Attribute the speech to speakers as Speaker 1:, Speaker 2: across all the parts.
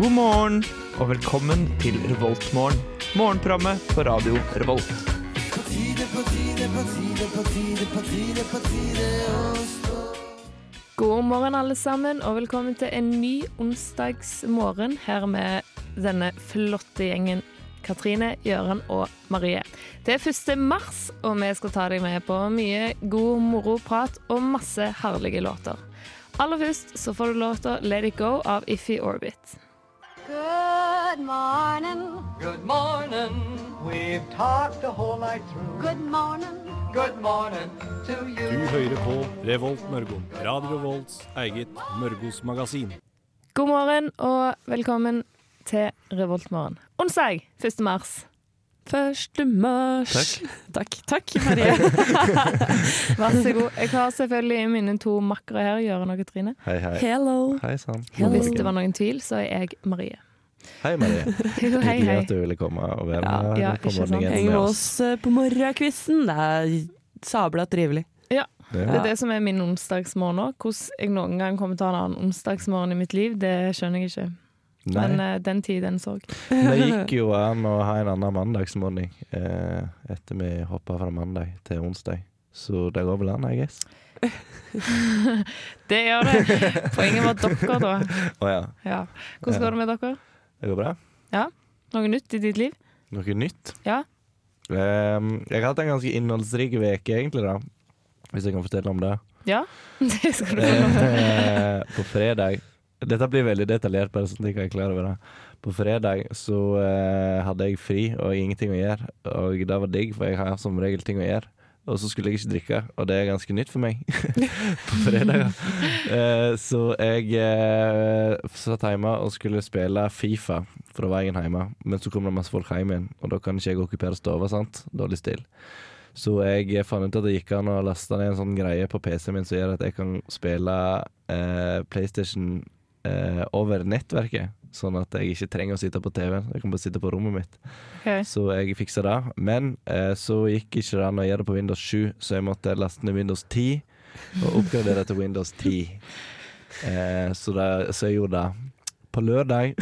Speaker 1: God morgen og velkommen til Revoltmorgen. Morgenprogrammet på radio Revolt.
Speaker 2: God morgen, alle sammen, og velkommen til en ny onsdagsmorgen her med denne flotte gjengen Katrine, Gøran og Marie. Det er 1. mars, og vi skal ta deg med på mye god moro prat og masse herlige låter. Aller først så får du låta 'Let It Go' av Iffy Orbit.
Speaker 3: Good morning.
Speaker 4: Good morning. We've talked the whole night through.
Speaker 3: Good morning.
Speaker 4: Good morning to
Speaker 5: Du
Speaker 4: you.
Speaker 5: hører på Revolt Mørgo. Radio Revolts eget Mørgos magasin.
Speaker 2: God morgen og velkommen til Revoltmorgen. Onsdag 1. mars.
Speaker 6: Første mars. Takk. Takk, Marie.
Speaker 2: Vær så god. Jeg har selvfølgelig mine to makkere her, Gøran og Katrine.
Speaker 7: Hei, hei.
Speaker 6: Hello.
Speaker 7: Hei sann.
Speaker 6: Hello.
Speaker 2: Hvis det var noen tvil, så er jeg Marie.
Speaker 7: Hei, Marie.
Speaker 2: Jo, hei,
Speaker 7: Hyggelig
Speaker 2: hei.
Speaker 7: at du ville komme og være
Speaker 6: Ja,
Speaker 7: med
Speaker 2: ja,
Speaker 7: på
Speaker 2: ikke sant.
Speaker 7: morgenen
Speaker 6: Heng
Speaker 7: med
Speaker 6: med
Speaker 7: oss.
Speaker 6: oss eh, på morgenkvisten. Det er sabla trivelig.
Speaker 2: Det er det som er min onsdagsmorgen nå. Hvordan jeg noen gang kommer til å ha en annen onsdagsmorgen i mitt liv, det skjønner jeg ikke.
Speaker 7: Nei,
Speaker 2: Men eh, den tid, den sorg.
Speaker 7: det gikk jo an å ha en annen mandagsmorgen eh, etter vi hoppa fra mandag til onsdag. Så det går vel an, I guess.
Speaker 2: Det gjør det. Poenget var dere, da.
Speaker 7: Å ja.
Speaker 2: Ja. Hvordan går det med dere?
Speaker 7: Det går bra?
Speaker 2: Noe nytt i ditt liv?
Speaker 7: Noe nytt?
Speaker 2: Ja.
Speaker 7: Eh, jeg har hatt en ganske innholdsrik uke, egentlig, da. Hvis jeg kan fortelle om det.
Speaker 2: Ja? Det skal du få lov til.
Speaker 7: Eh, på fredag Dette blir veldig detaljert, bare sånn at jeg er klar over det. På fredag så eh, hadde jeg fri og ingenting å gjøre, og det var digg, for jeg har som regel ting å gjøre. Og så skulle jeg ikke drikke, og det er ganske nytt for meg. på fredag. Eh, så jeg eh, satt hjemme og skulle spille Fifa fra veien hjemme, men så kom det masse folk hjem igjen, og da kan ikke jeg okkupere stua, sant? Dårlig stil. Så jeg fant ut at det gikk an å laste ned en sånn greie på PC-en min som gjør at jeg kan spille eh, PlayStation eh, over nettverket. Sånn at jeg ikke trenger å sitte på TV-en. Jeg kan bare sitte på rommet mitt.
Speaker 2: Ok.
Speaker 7: Så jeg fiksa det. Men eh, så gikk ikke det an å gjøre det på Windows 7, så jeg måtte laste ned Windows 10 og oppgradere til Windows 10. Eh, så, det, så jeg gjorde det. På lørdag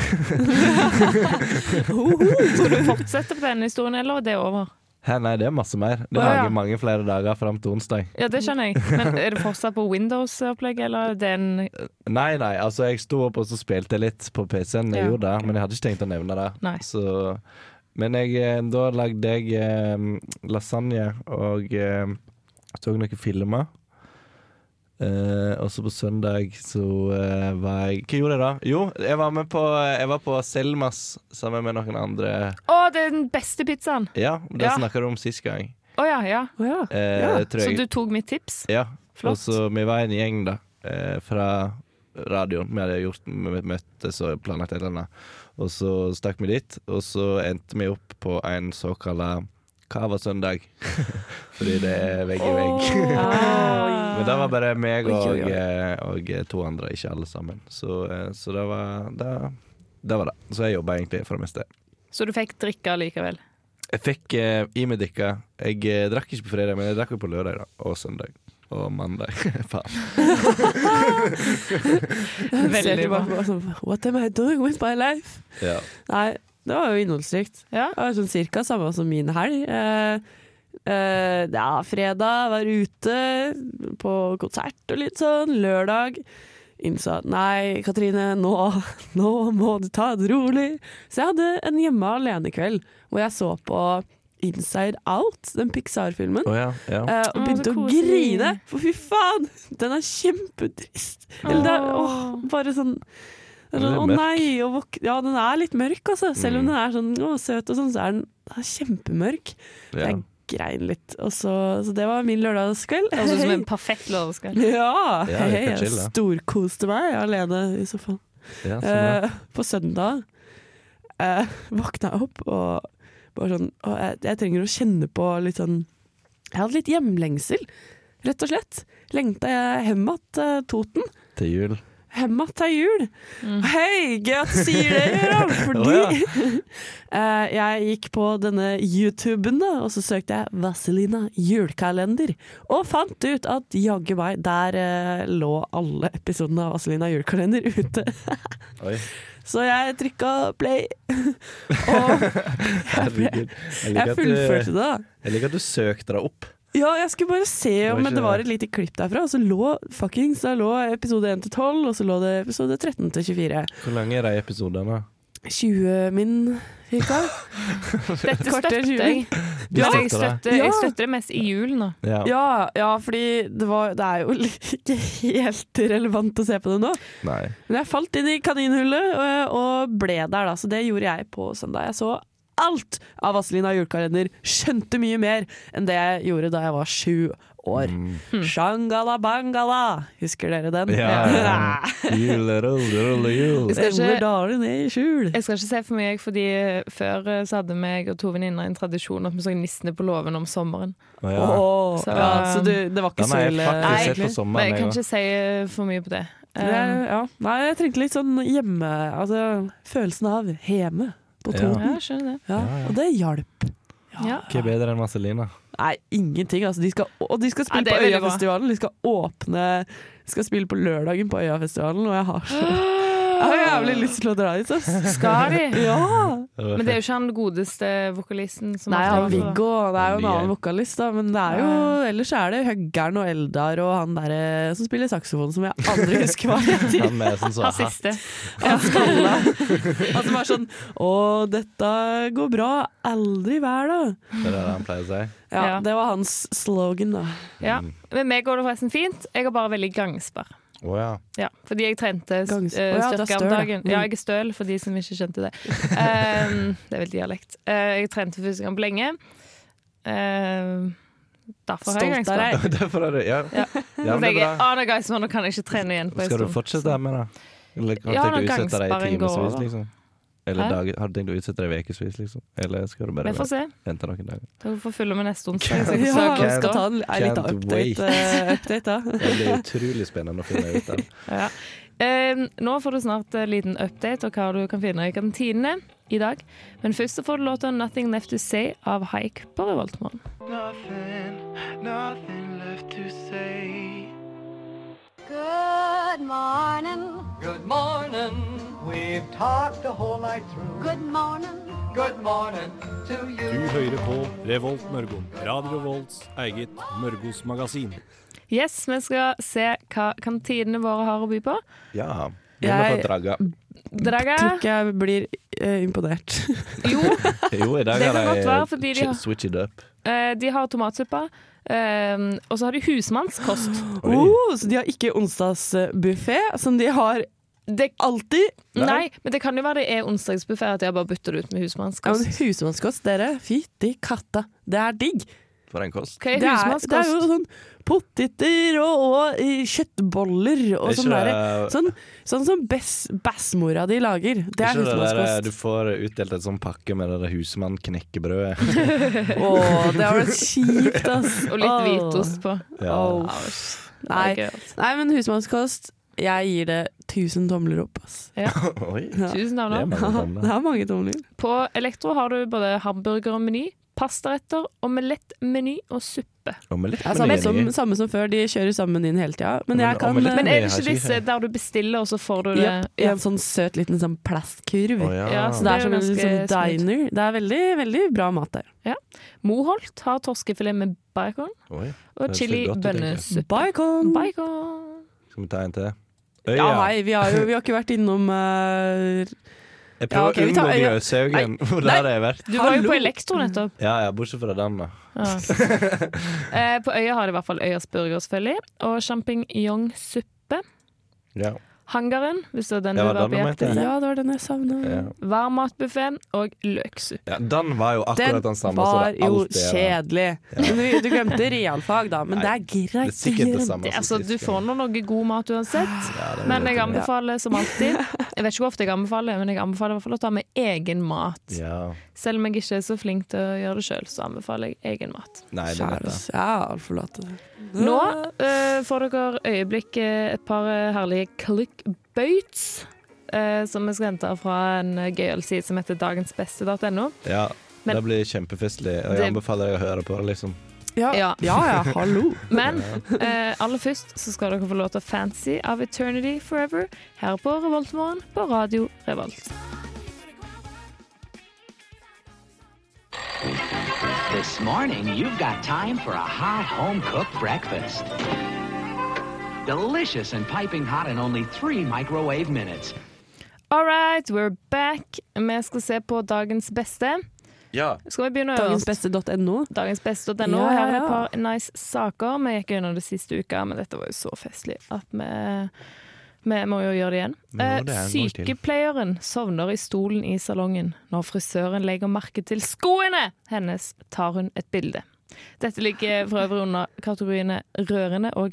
Speaker 2: Skal du fortsette på denne historien, eller er det over?
Speaker 7: Hæ, nei, det er masse mer. Det
Speaker 2: Å, ja.
Speaker 7: er mange, mange flere dager fram til onsdag.
Speaker 2: Ja, det skjønner jeg. Men er det fortsatt på Windows-opplegget, eller er det en
Speaker 7: Nei, nei, altså jeg sto opp og så spilte jeg litt på PC-en, jeg
Speaker 2: Ja,
Speaker 7: gjorde det,
Speaker 2: ok.
Speaker 7: men jeg hadde ikke tenkt å nevne det.
Speaker 2: Nei.
Speaker 7: Så, men jeg, eh, da lagde jeg eh, lasagne og eh, så noen filmer. Eh, og så på søndag så eh, var jeg Hva gjorde jeg da? Jo, jeg var med på, eh, jeg var på Selmas sammen med noen andre.
Speaker 2: Å, det er den beste pizzaen!
Speaker 7: Ja, det
Speaker 2: Ja.
Speaker 7: snakka du om sist gang.
Speaker 2: Å ja, ja.
Speaker 6: Å ja.
Speaker 7: Eh, tror
Speaker 2: Så
Speaker 7: jeg.
Speaker 2: du tok mitt tips?
Speaker 7: Ja,
Speaker 2: Flott.
Speaker 7: og så vi var en gjeng da eh, Fra radioen Vi hadde gjort vi møttes og planlagt et eller annet Og så stakk vi dit Og så endte vi opp på en såkalt eh, Kava-søndag Fordi det er vegg i vegg
Speaker 2: Ah.
Speaker 7: Men det var bare meg og,
Speaker 6: Oi, oi, oi.
Speaker 7: eh, og to andre Ikke alle sammen Så, eh, så det, var, det, det var det Så jeg jobbet egentlig for det meste
Speaker 2: Så du fikk drikke likevel?
Speaker 7: Jeg fikk eh, i meg drikka Jeg eh, drakk ikke på fredag, men jeg drakk jo på lørdag da Og søndag og mandag Faen
Speaker 6: Ser
Speaker 2: Veldig bra.
Speaker 6: tilbake og sånn What am I doing with my life?
Speaker 7: Ja
Speaker 6: Nei, det var jo innholdsrikt.
Speaker 2: Ja.
Speaker 6: Det var sånn cirka samme som min helg. Eh, eh, ja, fredag var ute på konsert og litt sånn. Lørdag innså at nei, Katrine, nå, nå må du ta det rolig. Så jeg hadde en hjemme alene-kveld hvor jeg så på Inside Out, den Pixar-filmen.
Speaker 7: Å ja, ja.
Speaker 6: eh,
Speaker 2: Å,
Speaker 6: og
Speaker 2: så
Speaker 6: begynte å
Speaker 2: koselig.
Speaker 6: grine, for fy faen! Den er kjempetrist. Eller det er, åh,
Speaker 2: Åh.
Speaker 6: bare sånn det er
Speaker 7: Den er
Speaker 6: sånn, Å
Speaker 7: mørk. Mm.
Speaker 6: nei! Og våk ja, den er litt mørk, altså. Selv om den er sånn å, søt og sånn, så er den, den er kjempemørk.
Speaker 7: ja.
Speaker 6: Jeg grein litt. Og så, så det var min lørdagskveld.
Speaker 2: Høres ut som en perfekt lørdagskveld.
Speaker 6: Ja! Hei,
Speaker 7: Ja,
Speaker 6: hei,
Speaker 7: det er
Speaker 6: jeg
Speaker 7: chill, da.
Speaker 6: storkoste meg alene i sofaen.
Speaker 7: Ja, sånn, ja.
Speaker 6: Eh, på søndag eh, våkna jeg opp og bare sånn og jeg, jeg trenger å kjenne på litt sånn Jeg hadde litt hjemlengsel, rett og slett. Lengta jeg hjem til Toten.
Speaker 7: Til jul.
Speaker 6: Hjem att til jul. Hei, gøy at du sier det, Gøran! Fordi
Speaker 7: Å,
Speaker 6: eh, jeg gikk på denne YouTuben, da, og så søkte jeg 'Vazelina julekalender', og fant ut at jaggu meg, der eh, lå alle episodene av Vazelina julekalender ute. Så jeg trykka play, og
Speaker 7: Herregud. Jeg liker
Speaker 6: jeg
Speaker 7: at
Speaker 6: fullførte
Speaker 7: du,
Speaker 6: det, da.
Speaker 7: jeg liker at du søkte deg opp.
Speaker 6: Ja, jeg skulle bare se
Speaker 7: var
Speaker 6: om
Speaker 7: ikke-
Speaker 6: det var et lite klipp derfra, og så lå fuckings Der lå episode 1 til 12, og så lå det episode 13 til 24.
Speaker 7: Hvor lang er de episodene?
Speaker 6: 20 min, cirka.
Speaker 2: Dette
Speaker 6: Kvarter
Speaker 2: støtter jeg.
Speaker 7: Du
Speaker 2: Men jeg
Speaker 7: støtter det.
Speaker 2: støtter, jeg
Speaker 6: Ja.
Speaker 2: støtter det mest i jul nå.
Speaker 7: Ja.
Speaker 6: Ja, ja fordi det, var, det er jo ikke helt relevant å se på det nå.
Speaker 7: Nei.
Speaker 6: Men jeg falt inn i kaninhullet øh, og ble der, da. Så det gjorde jeg på søndag. Jeg så alt av Vazelina julekalender. Skjønte mye mer enn det jeg gjorde da jeg var sju år.
Speaker 2: Hmm.
Speaker 6: Shangala bangala, husker dere den?
Speaker 7: Mm. Ja. Jul, rull, rull, jul.
Speaker 2: skal ikke-
Speaker 6: Engler daler ned i skjul.
Speaker 2: Jeg skal ikke se for mye, fordi før eh, så hadde meg og to venninner en tradisjon at vi så Nissene på låven om sommeren.
Speaker 7: Å, ja.
Speaker 6: Åh,
Speaker 2: Så-
Speaker 6: ja, så du, det var ikke
Speaker 7: Den
Speaker 6: så
Speaker 7: har jeg
Speaker 6: ille.
Speaker 7: faktisk sett
Speaker 6: egentlig.
Speaker 7: på
Speaker 2: Men
Speaker 7: sommeren.
Speaker 2: jeg kan
Speaker 7: jeg
Speaker 2: ikke si eh, for mye på det.
Speaker 6: Det
Speaker 2: Um,
Speaker 6: er- ja. Nei, jeg trengte litt sånn hjemme Altså følelsen av hjemme på
Speaker 7: Ja.
Speaker 6: Toten.
Speaker 2: Eh, Ja, jeg skjønner det.
Speaker 6: Ja,
Speaker 7: Ja, ja.
Speaker 6: Og det hjalp.
Speaker 2: Ja.
Speaker 7: også. Hva er bedre enn Vazelina?
Speaker 6: Nei, ingenting. Altså. De skal, og de skal
Speaker 2: Nei,
Speaker 6: spille
Speaker 2: det er
Speaker 6: på
Speaker 2: veldig bra.
Speaker 6: Øyafestivalen. De skal åpne de skal spille på lørdagen på Øyafestivalen, og jeg har så jeg har jævlig lyst til å dra dit. ass.
Speaker 2: Skal de?
Speaker 6: Ja.
Speaker 2: Men det er jo ikke han godeste vokalisten som
Speaker 6: Nei,
Speaker 2: alltid
Speaker 6: han
Speaker 2: har vært på.
Speaker 6: Viggo det er jo en
Speaker 7: Mye.
Speaker 6: annen vokalist, da, men det er jo, ellers er det Høggern og Eldar og han derre som spiller saksofon, som jeg aldri husker hva heter.
Speaker 7: Han er sånn så,
Speaker 2: Han siste.
Speaker 6: Han skalla. Han som er sånn Å, dette går bra. Aldri vær, da.
Speaker 7: Det er det han pleier å si.
Speaker 6: Ja,
Speaker 2: Ja.
Speaker 6: Det var hans slogan, da.
Speaker 2: Ja. Med meg går det forresten fint. Jeg har bare veldig gangsperr.
Speaker 7: Å ja.
Speaker 2: Ja, fordi jeg trente eh,
Speaker 6: Gangs- Å ja,
Speaker 2: styrke
Speaker 6: du er
Speaker 2: om
Speaker 6: støl, ja. Mm.
Speaker 2: dagen. Ja, jeg er støl, for de som ikke skjønte det. Ehm, det er vel dialekt. Eh, jeg trente for første gang på lenge. Ehm, derfor har jeg
Speaker 6: Stolt av
Speaker 2: gangsperr.
Speaker 6: deg.
Speaker 7: Derfor er det Ja,
Speaker 2: Ja.
Speaker 7: ja
Speaker 2: Så
Speaker 7: men det
Speaker 2: tenker
Speaker 7: er
Speaker 2: jeg,
Speaker 7: bra.
Speaker 2: «Ah, nå, guys, nå kan jeg ikke trene igjen på en
Speaker 7: Skal du
Speaker 2: stund.
Speaker 7: fortsette med det? Eller har du
Speaker 2: Ja,
Speaker 7: tenkt å
Speaker 2: når
Speaker 7: utsette deg i
Speaker 2: gangsperren går
Speaker 7: timevis,
Speaker 2: over.
Speaker 7: liksom? Eller
Speaker 2: Hæ?
Speaker 7: dag, har du tenkt å utsette deg ukevis, liksom? Eller skal du bare
Speaker 2: Vi får se.
Speaker 7: vente noen dager?
Speaker 2: Vi får følge med neste onsdag. Så jeg
Speaker 6: Ja,
Speaker 2: søker
Speaker 6: vi
Speaker 2: oss
Speaker 6: skal
Speaker 2: da.
Speaker 6: ta en, en liten
Speaker 7: Can't wait.
Speaker 6: update, eh, update da.
Speaker 7: Det blir utrolig spennende å finne ut av.
Speaker 2: Ja. Ehm, nå får du snart en liten update og hva du kan finne i kantinene i dag. Men først så får du låta 'Nothing Left To Say' av Haik på Revoltmorgen.
Speaker 4: Nothing, nothing left to say.
Speaker 3: Good morning.
Speaker 4: Good morning. We've talked the whole night through.
Speaker 3: Good morning.
Speaker 4: Good morning to
Speaker 5: Du
Speaker 4: you.
Speaker 5: hører på Revolt Mørgon. Radio Revolts eget Mørgos magasin.
Speaker 2: Yes, vi skal se hva kantinene våre har å by på.
Speaker 7: Ja. Vi må
Speaker 6: Jeg-
Speaker 7: få draga.
Speaker 2: Draga?
Speaker 6: Tror ikke jeg blir eh, imponert.
Speaker 2: Jo,
Speaker 7: Jo, i dag
Speaker 2: Det
Speaker 7: har
Speaker 2: kan godt være, fordi
Speaker 7: de
Speaker 2: de
Speaker 7: ch-
Speaker 2: har-
Speaker 7: switch it up.
Speaker 2: eh, de har tomatsuppa. ehm, og så har de husmannskost.
Speaker 7: Oi.
Speaker 6: Oh, så de har ikke onsdagsbuffé, som de har
Speaker 2: Det,
Speaker 6: alltid.
Speaker 2: nei. men det kan jo være det er onsdagsbuffé, at de har bare bytter det ut med
Speaker 6: Ja, men
Speaker 2: husmannskost.
Speaker 6: husmannskost, dere. Fytti katta, det er digg.
Speaker 7: For en kost.
Speaker 2: Hva er
Speaker 6: Det er, det er jo
Speaker 2: husmannskost?
Speaker 6: sånn poteter og, og eh, kjøttboller og
Speaker 7: Er ikke
Speaker 6: sånn derre.
Speaker 7: det-
Speaker 6: Sånn, sånn som bess- bæsmora di lager. Det er
Speaker 7: Ikke det der, eh,
Speaker 6: husmannskost.
Speaker 7: du får utdelt et sånn pakke med det der husmannknekkebrødet.
Speaker 6: Åh, det har vært kjipt, ass.
Speaker 2: Og litt
Speaker 6: Åh.
Speaker 2: hvitost på.
Speaker 7: Ja.
Speaker 6: Åh.
Speaker 2: Ja, det er
Speaker 6: Nei.
Speaker 2: gøy, altså.
Speaker 6: Nei, men husmannskost, jeg gir det tusen tomler opp, ass.
Speaker 7: Oi.
Speaker 2: Tusen
Speaker 7: Det er
Speaker 2: takk.
Speaker 7: mange
Speaker 6: Det
Speaker 7: tomler.
Speaker 6: er mange tomler.
Speaker 2: På Elektro har du både hamburgermeny, pastaretter, omelettmeny og suppe.
Speaker 7: Omelett
Speaker 6: Ja,
Speaker 7: med
Speaker 6: samme,
Speaker 7: meny.
Speaker 6: som, samme som før, de kjører sammen inn hele tida. Men
Speaker 7: Men
Speaker 6: jeg kan
Speaker 7: omelett-
Speaker 6: eh,
Speaker 2: Men er det
Speaker 7: har
Speaker 2: ikke
Speaker 7: ikke-
Speaker 2: disse der du bestiller, og så får du det
Speaker 6: Japp, i en sånn søt liten sånn plastkurv.
Speaker 7: Å, ja.
Speaker 2: Ja, så
Speaker 6: Så det er
Speaker 2: Det er jo
Speaker 6: som en liksom,
Speaker 2: ganske smooth.
Speaker 6: diner. Det er veldig, veldig bra mat der.
Speaker 2: Moholt har torskefilet med bacon
Speaker 7: Oi.
Speaker 2: og
Speaker 7: Det ser
Speaker 2: chili
Speaker 7: godt ut, egentlig.
Speaker 2: bønnesuppe.
Speaker 6: Bacon! Mm.
Speaker 2: Bacon.
Speaker 7: Skal vi ta en til?
Speaker 6: Ja,
Speaker 7: Øya.
Speaker 6: hei, vi har jo vi har ikke vært innom eh,
Speaker 7: Jeg prøver
Speaker 6: Ja, ok,
Speaker 7: å
Speaker 6: vi tar
Speaker 7: unngå
Speaker 6: øya.
Speaker 7: Gløshaugen, hvor der har jeg vært.
Speaker 2: Du var jo
Speaker 6: Hallo.
Speaker 2: på Elektro nettopp.
Speaker 7: Ja, ja, bortsett fra den, da.
Speaker 2: Ja. Eh, på Øya har de i hvert fall Øyas burger, selvfølgelig. Og sjampinjongsuppe.
Speaker 7: Ja.
Speaker 2: Hangaren, hvis det var den
Speaker 7: Ja,
Speaker 2: du
Speaker 7: var
Speaker 2: var på
Speaker 7: den jeg
Speaker 2: jakt etter.
Speaker 6: Ja, det var den jeg savna.
Speaker 7: Ja.
Speaker 2: Mm. Varmmatbuffé og løksuppe.
Speaker 7: ja, den var jo
Speaker 6: Den
Speaker 7: akkurat den samme. så
Speaker 6: var
Speaker 7: det er
Speaker 6: jo
Speaker 7: alltid det.
Speaker 6: kjedelig. Men Du, du glemte realfag, da, men det
Speaker 7: Nei,
Speaker 6: er greit.
Speaker 7: Det er sikkert det samme.
Speaker 2: Det,
Speaker 7: som
Speaker 2: altså, du
Speaker 7: sist,
Speaker 2: får nå noe god mat uansett.
Speaker 7: Ja, det er
Speaker 2: Men
Speaker 7: det
Speaker 2: jeg
Speaker 7: til.
Speaker 2: anbefaler som alltid Jeg vet ikke hvor ofte jeg anbefaler, men jeg anbefaler i hvert fall å ta med egen mat.
Speaker 7: Ja.
Speaker 2: Selv om jeg ikke er så flink til å gjøre det sjøl, så anbefaler jeg egen mat.
Speaker 7: Nei, det er
Speaker 6: Kjære
Speaker 7: dette.
Speaker 6: oss. Jeg har altfor late.
Speaker 2: Nå eh, får dere øyeblikk eh, et par eh, herlige clickbaits. eh, som vi skal hente fra en eh, gøyal side som heter dagensbeste.no.
Speaker 7: Ja,
Speaker 2: Men-
Speaker 7: det blir kjempefestlig. Og
Speaker 2: Det-
Speaker 7: jeg anbefaler deg å høre på det, liksom.
Speaker 6: Ja ja,
Speaker 2: Ja.
Speaker 6: ja hallo.
Speaker 2: Men eh, aller først så skal dere få låta 'Fancy' av Eternity Forever her på Revoltmorgen på Radio Revolt.
Speaker 8: This morning, you've got time for a hot home cooked breakfast. Delicious and piping hot in only three microwave minutes.
Speaker 2: All right, we're back. Vi skal se på dagens beste.
Speaker 7: Ja.
Speaker 2: Skal vi begynne øverst?
Speaker 6: Dagensbeste.no.
Speaker 2: Dagensbeste.no.
Speaker 6: Ja, ja,
Speaker 2: Her er et
Speaker 6: ja.
Speaker 2: par nice saker. Vi gikk gjennom det siste uka, men dette var jo så festlig at vi, vi må jo gjøre det igjen.
Speaker 7: Vi må
Speaker 2: Eh,
Speaker 7: det en gang til.
Speaker 2: Sykepleieren sovner i stolen i salongen. Når frisøren legger merke til skoene hennes, tar hun et bilde. Dette ligger for øvrig under kategoriene rørende og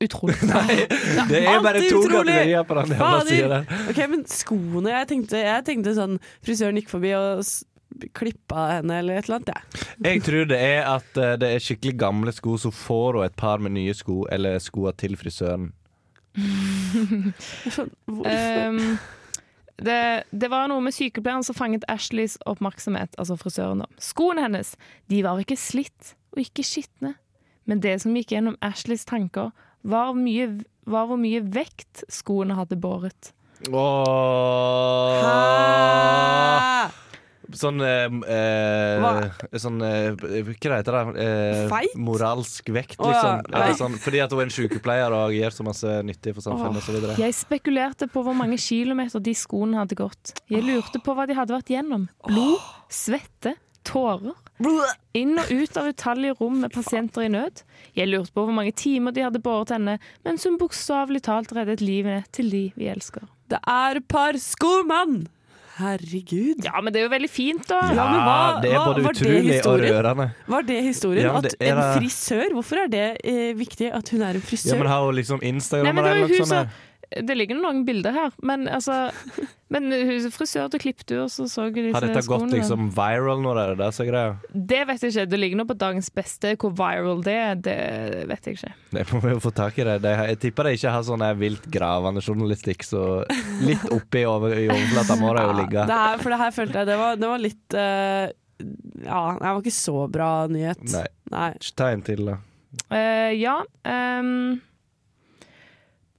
Speaker 2: utrolig.
Speaker 7: Det er bare to
Speaker 6: Antiutrolig!
Speaker 7: kategorier på den jævla sida
Speaker 6: Fader!
Speaker 7: der.
Speaker 6: Ok, men skoene Jeg tenkte, jeg tenkte sånn Frisøren gikk forbi og s- klippa henne eller et eller annet. Ja.
Speaker 7: Jeg tror det er at eh, det er skikkelig gamle sko, så får hun et par med nye sko, eller skoa til frisøren.
Speaker 6: Sånn, hvorfor?
Speaker 2: Um, det, det var noe med sykepleieren som fanget Ashleys oppmerksomhet, altså frisøren. da. Skoene hennes de var ikke slitt og ikke skitne, men det som gikk gjennom Ashleys tanker, var, mye, var hvor mye vekt skoene hadde båret.
Speaker 7: Åh.
Speaker 6: Hæ?
Speaker 7: Sånn eh, eh, Sånn eh, Hva heter det? Eh,
Speaker 6: Feit?
Speaker 7: Moralsk vekt,
Speaker 6: Å, ja.
Speaker 7: liksom. Eller
Speaker 6: Nei.
Speaker 7: sånn, fordi at hun er en sykepleier og gjør så masse nyttig for samfunnet osv.
Speaker 2: Jeg spekulerte på hvor mange kilometer de skoene hadde gått. Jeg lurte på hva de hadde vært gjennom. Blod, svette, tårer. Inn og ut av utallige rom med pasienter i nød. Jeg lurte på hvor mange timer de hadde båret henne, mens hun bokstavelig talt reddet livet til de vi elsker.
Speaker 6: Det er et par sko, mann! Herregud.
Speaker 2: Ja, men det er jo veldig fint,
Speaker 6: Ja,
Speaker 2: da.
Speaker 6: men hva-
Speaker 7: det er
Speaker 6: hva-
Speaker 7: både
Speaker 6: var det
Speaker 7: utrolig og
Speaker 6: historien?
Speaker 7: rørende.
Speaker 6: Var det historien?
Speaker 7: Ja, men det
Speaker 6: at en
Speaker 7: er-
Speaker 6: frisør Hvorfor er det eh, viktig at hun er en frisør?
Speaker 7: Ja, men har hun liksom
Speaker 2: Nei, men
Speaker 7: Instagram
Speaker 2: det var
Speaker 7: eller
Speaker 2: jo
Speaker 7: noe
Speaker 2: hun
Speaker 7: sånt?
Speaker 2: som Det ligger noen bilder her, men altså Men hun frisør til klipptur, så så jeg disse
Speaker 7: Har dette gått
Speaker 2: skoene.
Speaker 7: liksom viral nå, det er det der som er greia?
Speaker 2: Det vet jeg ikke. Det ligger nå på dagens beste. Hvor viral det er, det vet jeg ikke.
Speaker 7: Det må vi jo få tak i det. De, jeg tipper de ikke har sånn her vilt gravende journalistikk, så litt oppi over, i overflata må de jo ligge.
Speaker 6: Ja, Ah, det her, for det her følte jeg Det var, det var litt eh, Ja, det var ikke så bra nyhet.
Speaker 7: Nei.
Speaker 6: Nei.
Speaker 7: Ikke Ta en til, da.
Speaker 2: Eh, ja ehm,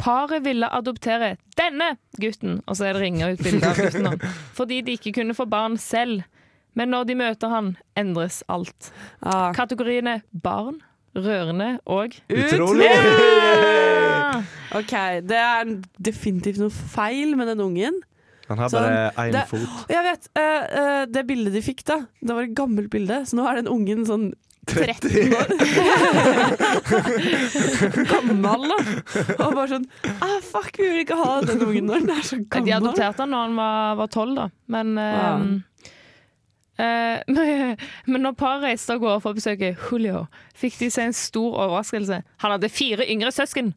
Speaker 2: Paret ville adoptere denne gutten, og så er det ringer ut bilde av gutten, nå, fordi de ikke kunne få barn selv. Men når de møter han, endres alt.
Speaker 6: Ja.
Speaker 2: Kategoriene barn, rørende og
Speaker 7: Utrolig!
Speaker 6: OK, det er definitivt noe feil med den ungen.
Speaker 7: Han har
Speaker 6: Sånn.
Speaker 7: bare én
Speaker 6: Det-
Speaker 7: fot.
Speaker 6: Jeg vet, eh, eh, Det bildet de fikk, da det var et gammelt bilde, så nå er den ungen sånn 13 år. gammel, da. Og bare sånn ah, Fuck, vi vil ikke ha den ungen når den er så
Speaker 2: Nei, De
Speaker 6: gammel.
Speaker 2: adopterte han når han var- var tolv, da. Men,
Speaker 6: Ja.
Speaker 2: ehm, eh, men når paret reiste av gårde for å besøke Julio, fikk de seg en stor overraskelse. Han hadde fire yngre søsken!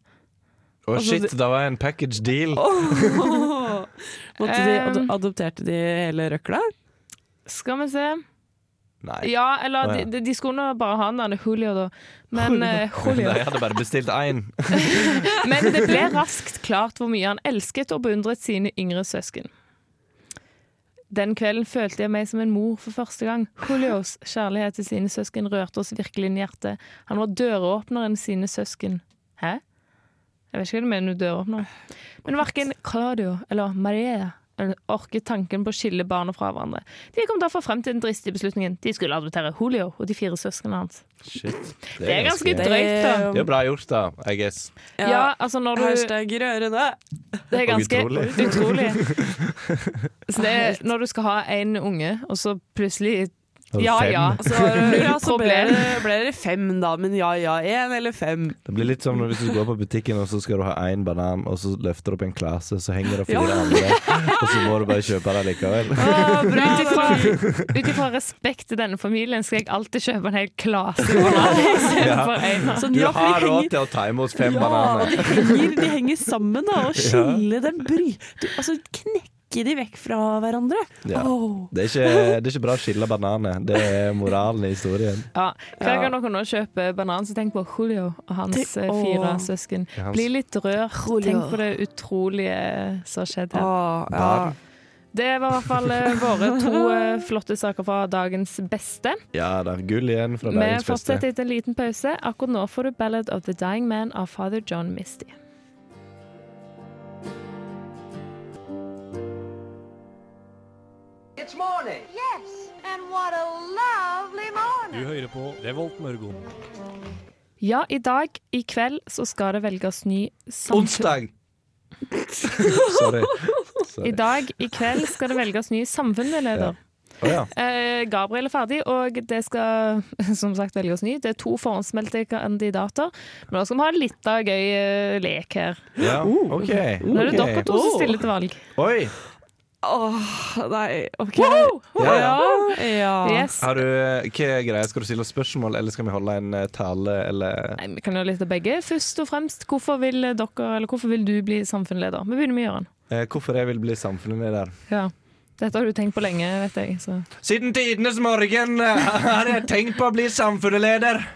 Speaker 7: Å,
Speaker 6: Altså,
Speaker 7: shit,
Speaker 6: det-
Speaker 7: det var en package deal.
Speaker 6: Åh. Måtte de, ad
Speaker 2: Um.
Speaker 6: adopterte de hele røkla?
Speaker 2: Skal vi se
Speaker 7: Nei.
Speaker 2: Ja, eller
Speaker 7: Å, ja.
Speaker 2: de, de, de skulle nå bare ha han der, Julio, da. Men, eh,
Speaker 7: De
Speaker 2: Julio.
Speaker 7: hadde bare bestilt én.
Speaker 2: men det ble raskt klart hvor mye han elsket og beundret sine yngre søsken. Den kvelden følte jeg meg som en mor for første gang. Julios kjærlighet til sine søsken rørte oss virkelig inn i hjertet. Han var døråpneren sine søsken. Hæ? Jeg vet ikke hva du mener med døråpner. Men verken Claudio eller Maria eh, orket tanken på å skille barna fra hverandre. De kom derfor frem til den dristige beslutningen. De skulle adoptere Julio og de fire søsknene hans.
Speaker 7: Shit.
Speaker 2: Det er ganske
Speaker 7: Det
Speaker 2: drøyt, da.
Speaker 6: Damn.
Speaker 7: er bra gjort, da, I guess.
Speaker 2: Ja, altså når du...
Speaker 6: Hashtag rørende.
Speaker 2: Det er
Speaker 7: Og
Speaker 2: ganske
Speaker 7: utrolig.
Speaker 2: utrolig. Så det er når du skal ha en unge, og så plutselig
Speaker 7: Og
Speaker 2: Ja
Speaker 7: fem.
Speaker 2: ja.
Speaker 6: Så, ja, så ble,
Speaker 2: Problem.
Speaker 6: det, ble det fem, da. Men ja ja, én eller fem.
Speaker 7: Det blir litt som når hvis du går på butikken og så skal du ha én banan, og så løfter du opp en klase, så henger det fire
Speaker 6: Ja.
Speaker 7: andre, og så må du bare kjøpe det likevel.
Speaker 2: Ut ifra, ut ifra respekt til denne familien skal jeg alltid kjøpe en hel klase banan istedenfor én.
Speaker 6: Sånn,
Speaker 7: Du
Speaker 6: ja, for
Speaker 7: har
Speaker 6: de
Speaker 7: råd
Speaker 6: henger,
Speaker 7: til å ta imot fem
Speaker 6: ja, og
Speaker 7: bananer.
Speaker 6: de henger, de henger sammen, da. Og skille dem bry... Du, altså, knekke de vekk fra hverandre.
Speaker 7: Ja.
Speaker 6: Åh.
Speaker 7: Det er, ikke, det er ikke bra å skille bananer. Det er moralen i historien.
Speaker 2: Ja. Hver gang dere nå kjøper banan, så tenk på Julio og hans
Speaker 6: Tenk-
Speaker 2: eh, fire
Speaker 6: Åh.
Speaker 2: søsken.
Speaker 7: Ja, hans-
Speaker 2: Bli litt rørt.
Speaker 6: Julio.
Speaker 2: Tenk på det utrolige som har skjedd her.
Speaker 6: Åh, ja.
Speaker 7: Barn.
Speaker 2: Det var i hvert fall eh, våre to eh, flotte saker fra dagens beste.
Speaker 7: Ja da, gull igjen fra
Speaker 2: Vi
Speaker 7: dagens beste.
Speaker 2: fortsetter etter en liten pause. Akkurat nå får du 'Ballad of the Dying Man' av Father John Misty.
Speaker 4: It's morning.
Speaker 3: Yes, and what a lovely
Speaker 5: Du
Speaker 3: morning.
Speaker 5: hører på Revolt Mørgon.
Speaker 2: Ja, i dag, i kveld, så skal det velges ny samfunn...
Speaker 7: Onsdag! Sorry.
Speaker 2: I
Speaker 7: Sorry.
Speaker 2: dag, i kveld, skal det velges ny samfunnsleder.
Speaker 7: Å ja.
Speaker 2: Eh, Gabriel er ferdig, og det skal som sagt velges ny. Det er to forhåndsmeldte kandidater, men nå skal vi ha litt av gøy eh, lek her.
Speaker 7: ja. OK.
Speaker 2: Nå er det
Speaker 7: ok.
Speaker 2: dere to som
Speaker 6: Oh.
Speaker 2: stiller til valg.
Speaker 7: Oi!
Speaker 6: Åh, nei, OK.
Speaker 7: Ja, ja.
Speaker 6: Ja.
Speaker 2: Yes.
Speaker 7: Har du, hva er greia? Skal du stille spørsmål, eller skal vi holde en eh, tale, eller
Speaker 2: Nei, vi kan jo litt av begge. Først og fremst, hvorfor vil dere, eller hvorfor vil du bli samfunnsleder? Vi begynner med Jøran.
Speaker 7: eh, Hvorfor jeg vil bli samfunnsleder?
Speaker 2: Ja. Dette har du tenkt på lenge, vet jeg. Så.
Speaker 7: Siden tidenes morgen eh, har jeg tenkt på å bli samfunnsleder.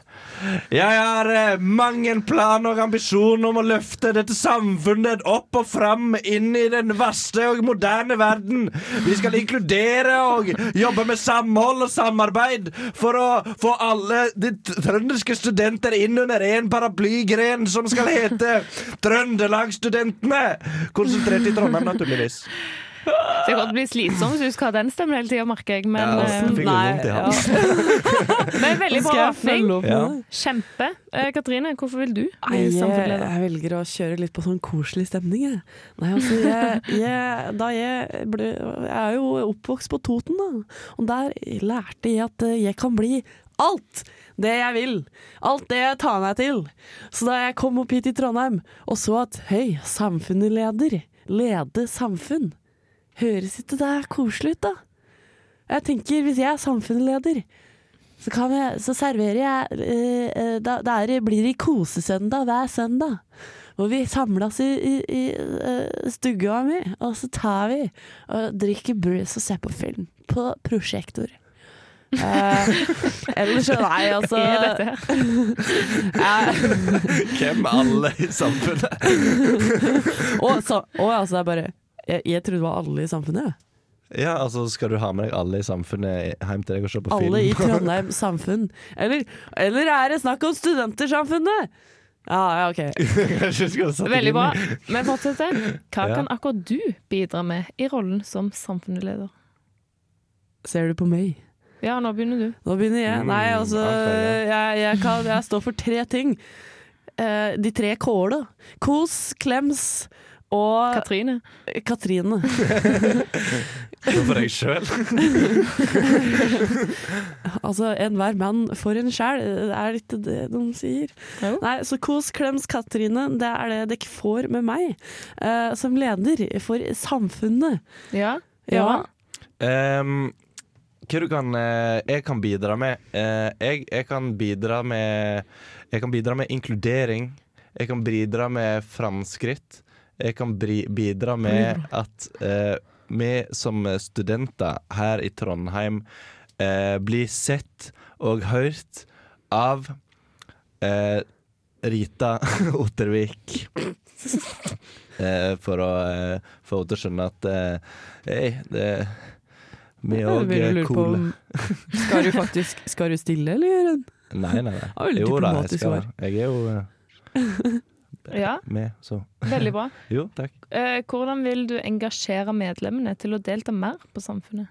Speaker 7: Jeg har eh, mange planer og ambisjoner om å løfte dette samfunnet opp og fram inn i den vaste og moderne verden. Vi skal inkludere og jobbe med samhold og samarbeid for å få alle de t- trønderske studenter inn under én paraplygren som skal hete Trøndelagsstudentene. Konsentrert i Trondheim, naturligvis.
Speaker 2: Det kan godt bli slitsomt hvis du skal ha den stemmen hele tida, merker jeg. Men,
Speaker 7: Ja, altså,
Speaker 2: eh,
Speaker 7: det fikk litt
Speaker 6: Nei,
Speaker 7: vondt i
Speaker 6: ja.
Speaker 7: halsen.
Speaker 2: men veldig
Speaker 6: Skal
Speaker 2: bra
Speaker 6: jeg
Speaker 2: åpning.
Speaker 6: følge opp
Speaker 7: Ja.
Speaker 6: med det?
Speaker 2: Kjempe. Eh, Katrine, hvorfor vil du
Speaker 6: Nei,
Speaker 2: bli
Speaker 6: jeg,
Speaker 2: samfunnsleder?
Speaker 6: jeg velger å kjøre litt på sånn koselig stemning, jeg. Nei, altså, jeg, jeg, da jeg, ble, jeg er jo oppvokst på Toten, da. Og der lærte jeg at eh, jeg kan bli alt det jeg vil. Alt det jeg tar meg til. Så da jeg kom opp hit i Trondheim og så at høy, samfunnet leder. Lede samfunn. Høres ikke det koselig ut, da? Jeg tenker, hvis jeg er samfunnsleder, så, kan jeg, så serverer jeg eh, eh, da, da er det- blir det kosesøndag hver søndag. Hvor vi samles i, i, i eh, stua mi, og så tar vi og drikker brus og ser på film. På prosjektor. Eh, ellers så nei, altså
Speaker 2: Er dette her?
Speaker 6: jeg,
Speaker 7: Hvem alle i samfunnet?
Speaker 6: og, så, og altså, det er bare jeg, jeg trodde det var alle i samfunnet. jeg.
Speaker 7: Ja, altså Skal du ha med deg alle i samfunnet hjem til deg og se på
Speaker 6: Alle i
Speaker 7: film?
Speaker 6: Trondheim samfunn. Eller, eller er det snakk om studentersamfunnet? Ja, ja, OK.
Speaker 7: Kanskje du skulle satt
Speaker 2: Veldig
Speaker 7: inn-
Speaker 2: bra. Vi fortsetter. Hva
Speaker 7: Ja.
Speaker 2: kan akkurat du bidra med i rollen som samfunnsleder?
Speaker 6: Ser du på meg?
Speaker 2: Ja, nå begynner du.
Speaker 6: Nå begynner jeg.
Speaker 7: Mm,
Speaker 6: Nei, altså
Speaker 7: anklager.
Speaker 6: jeg, jeg, kan, jeg står for tre ting. Eh, de tre kåla. Kos, klems og
Speaker 2: Katrine.
Speaker 6: Katrine.
Speaker 7: Det er for deg sjøl.
Speaker 6: Altså, enhver mann for en sjæl, er det ikke det de sier?
Speaker 2: Jo.
Speaker 6: Nei, så kos, klems, Katrine, det er det dere får med meg eh, som leder for samfunnet.
Speaker 2: Ja.
Speaker 6: Ja.
Speaker 2: Jøran?
Speaker 7: hva du kan eh, Jeg kan bidra med Eh, jeg, jeg kan bidra med Jeg kan bidra med inkludering. Jeg kan bidra med framskritt. Jeg kan bri, bidra med at eh, vi som studenter her i Trondheim eh, blir sett og hørt av eh, Rita Ottervik. Eh, for å eh, få henne til å skjønne at eh, hei, det vi eh, er
Speaker 6: Jeg
Speaker 7: òg
Speaker 6: begynner å lure på
Speaker 7: coole.
Speaker 6: om- Skal du faktisk Skal du stille, eller gjør hun?
Speaker 7: Nei, nei, nei.
Speaker 6: var veldig
Speaker 7: jo da, jeg
Speaker 6: diplomatisk
Speaker 7: skal
Speaker 6: svar.
Speaker 7: det. Jeg er jo eh,
Speaker 2: ja.
Speaker 7: med, så
Speaker 2: Veldig bra.
Speaker 7: Jo, takk.
Speaker 2: Eh, hvordan vil du engasjere medlemmene til å delta mer på samfunnet?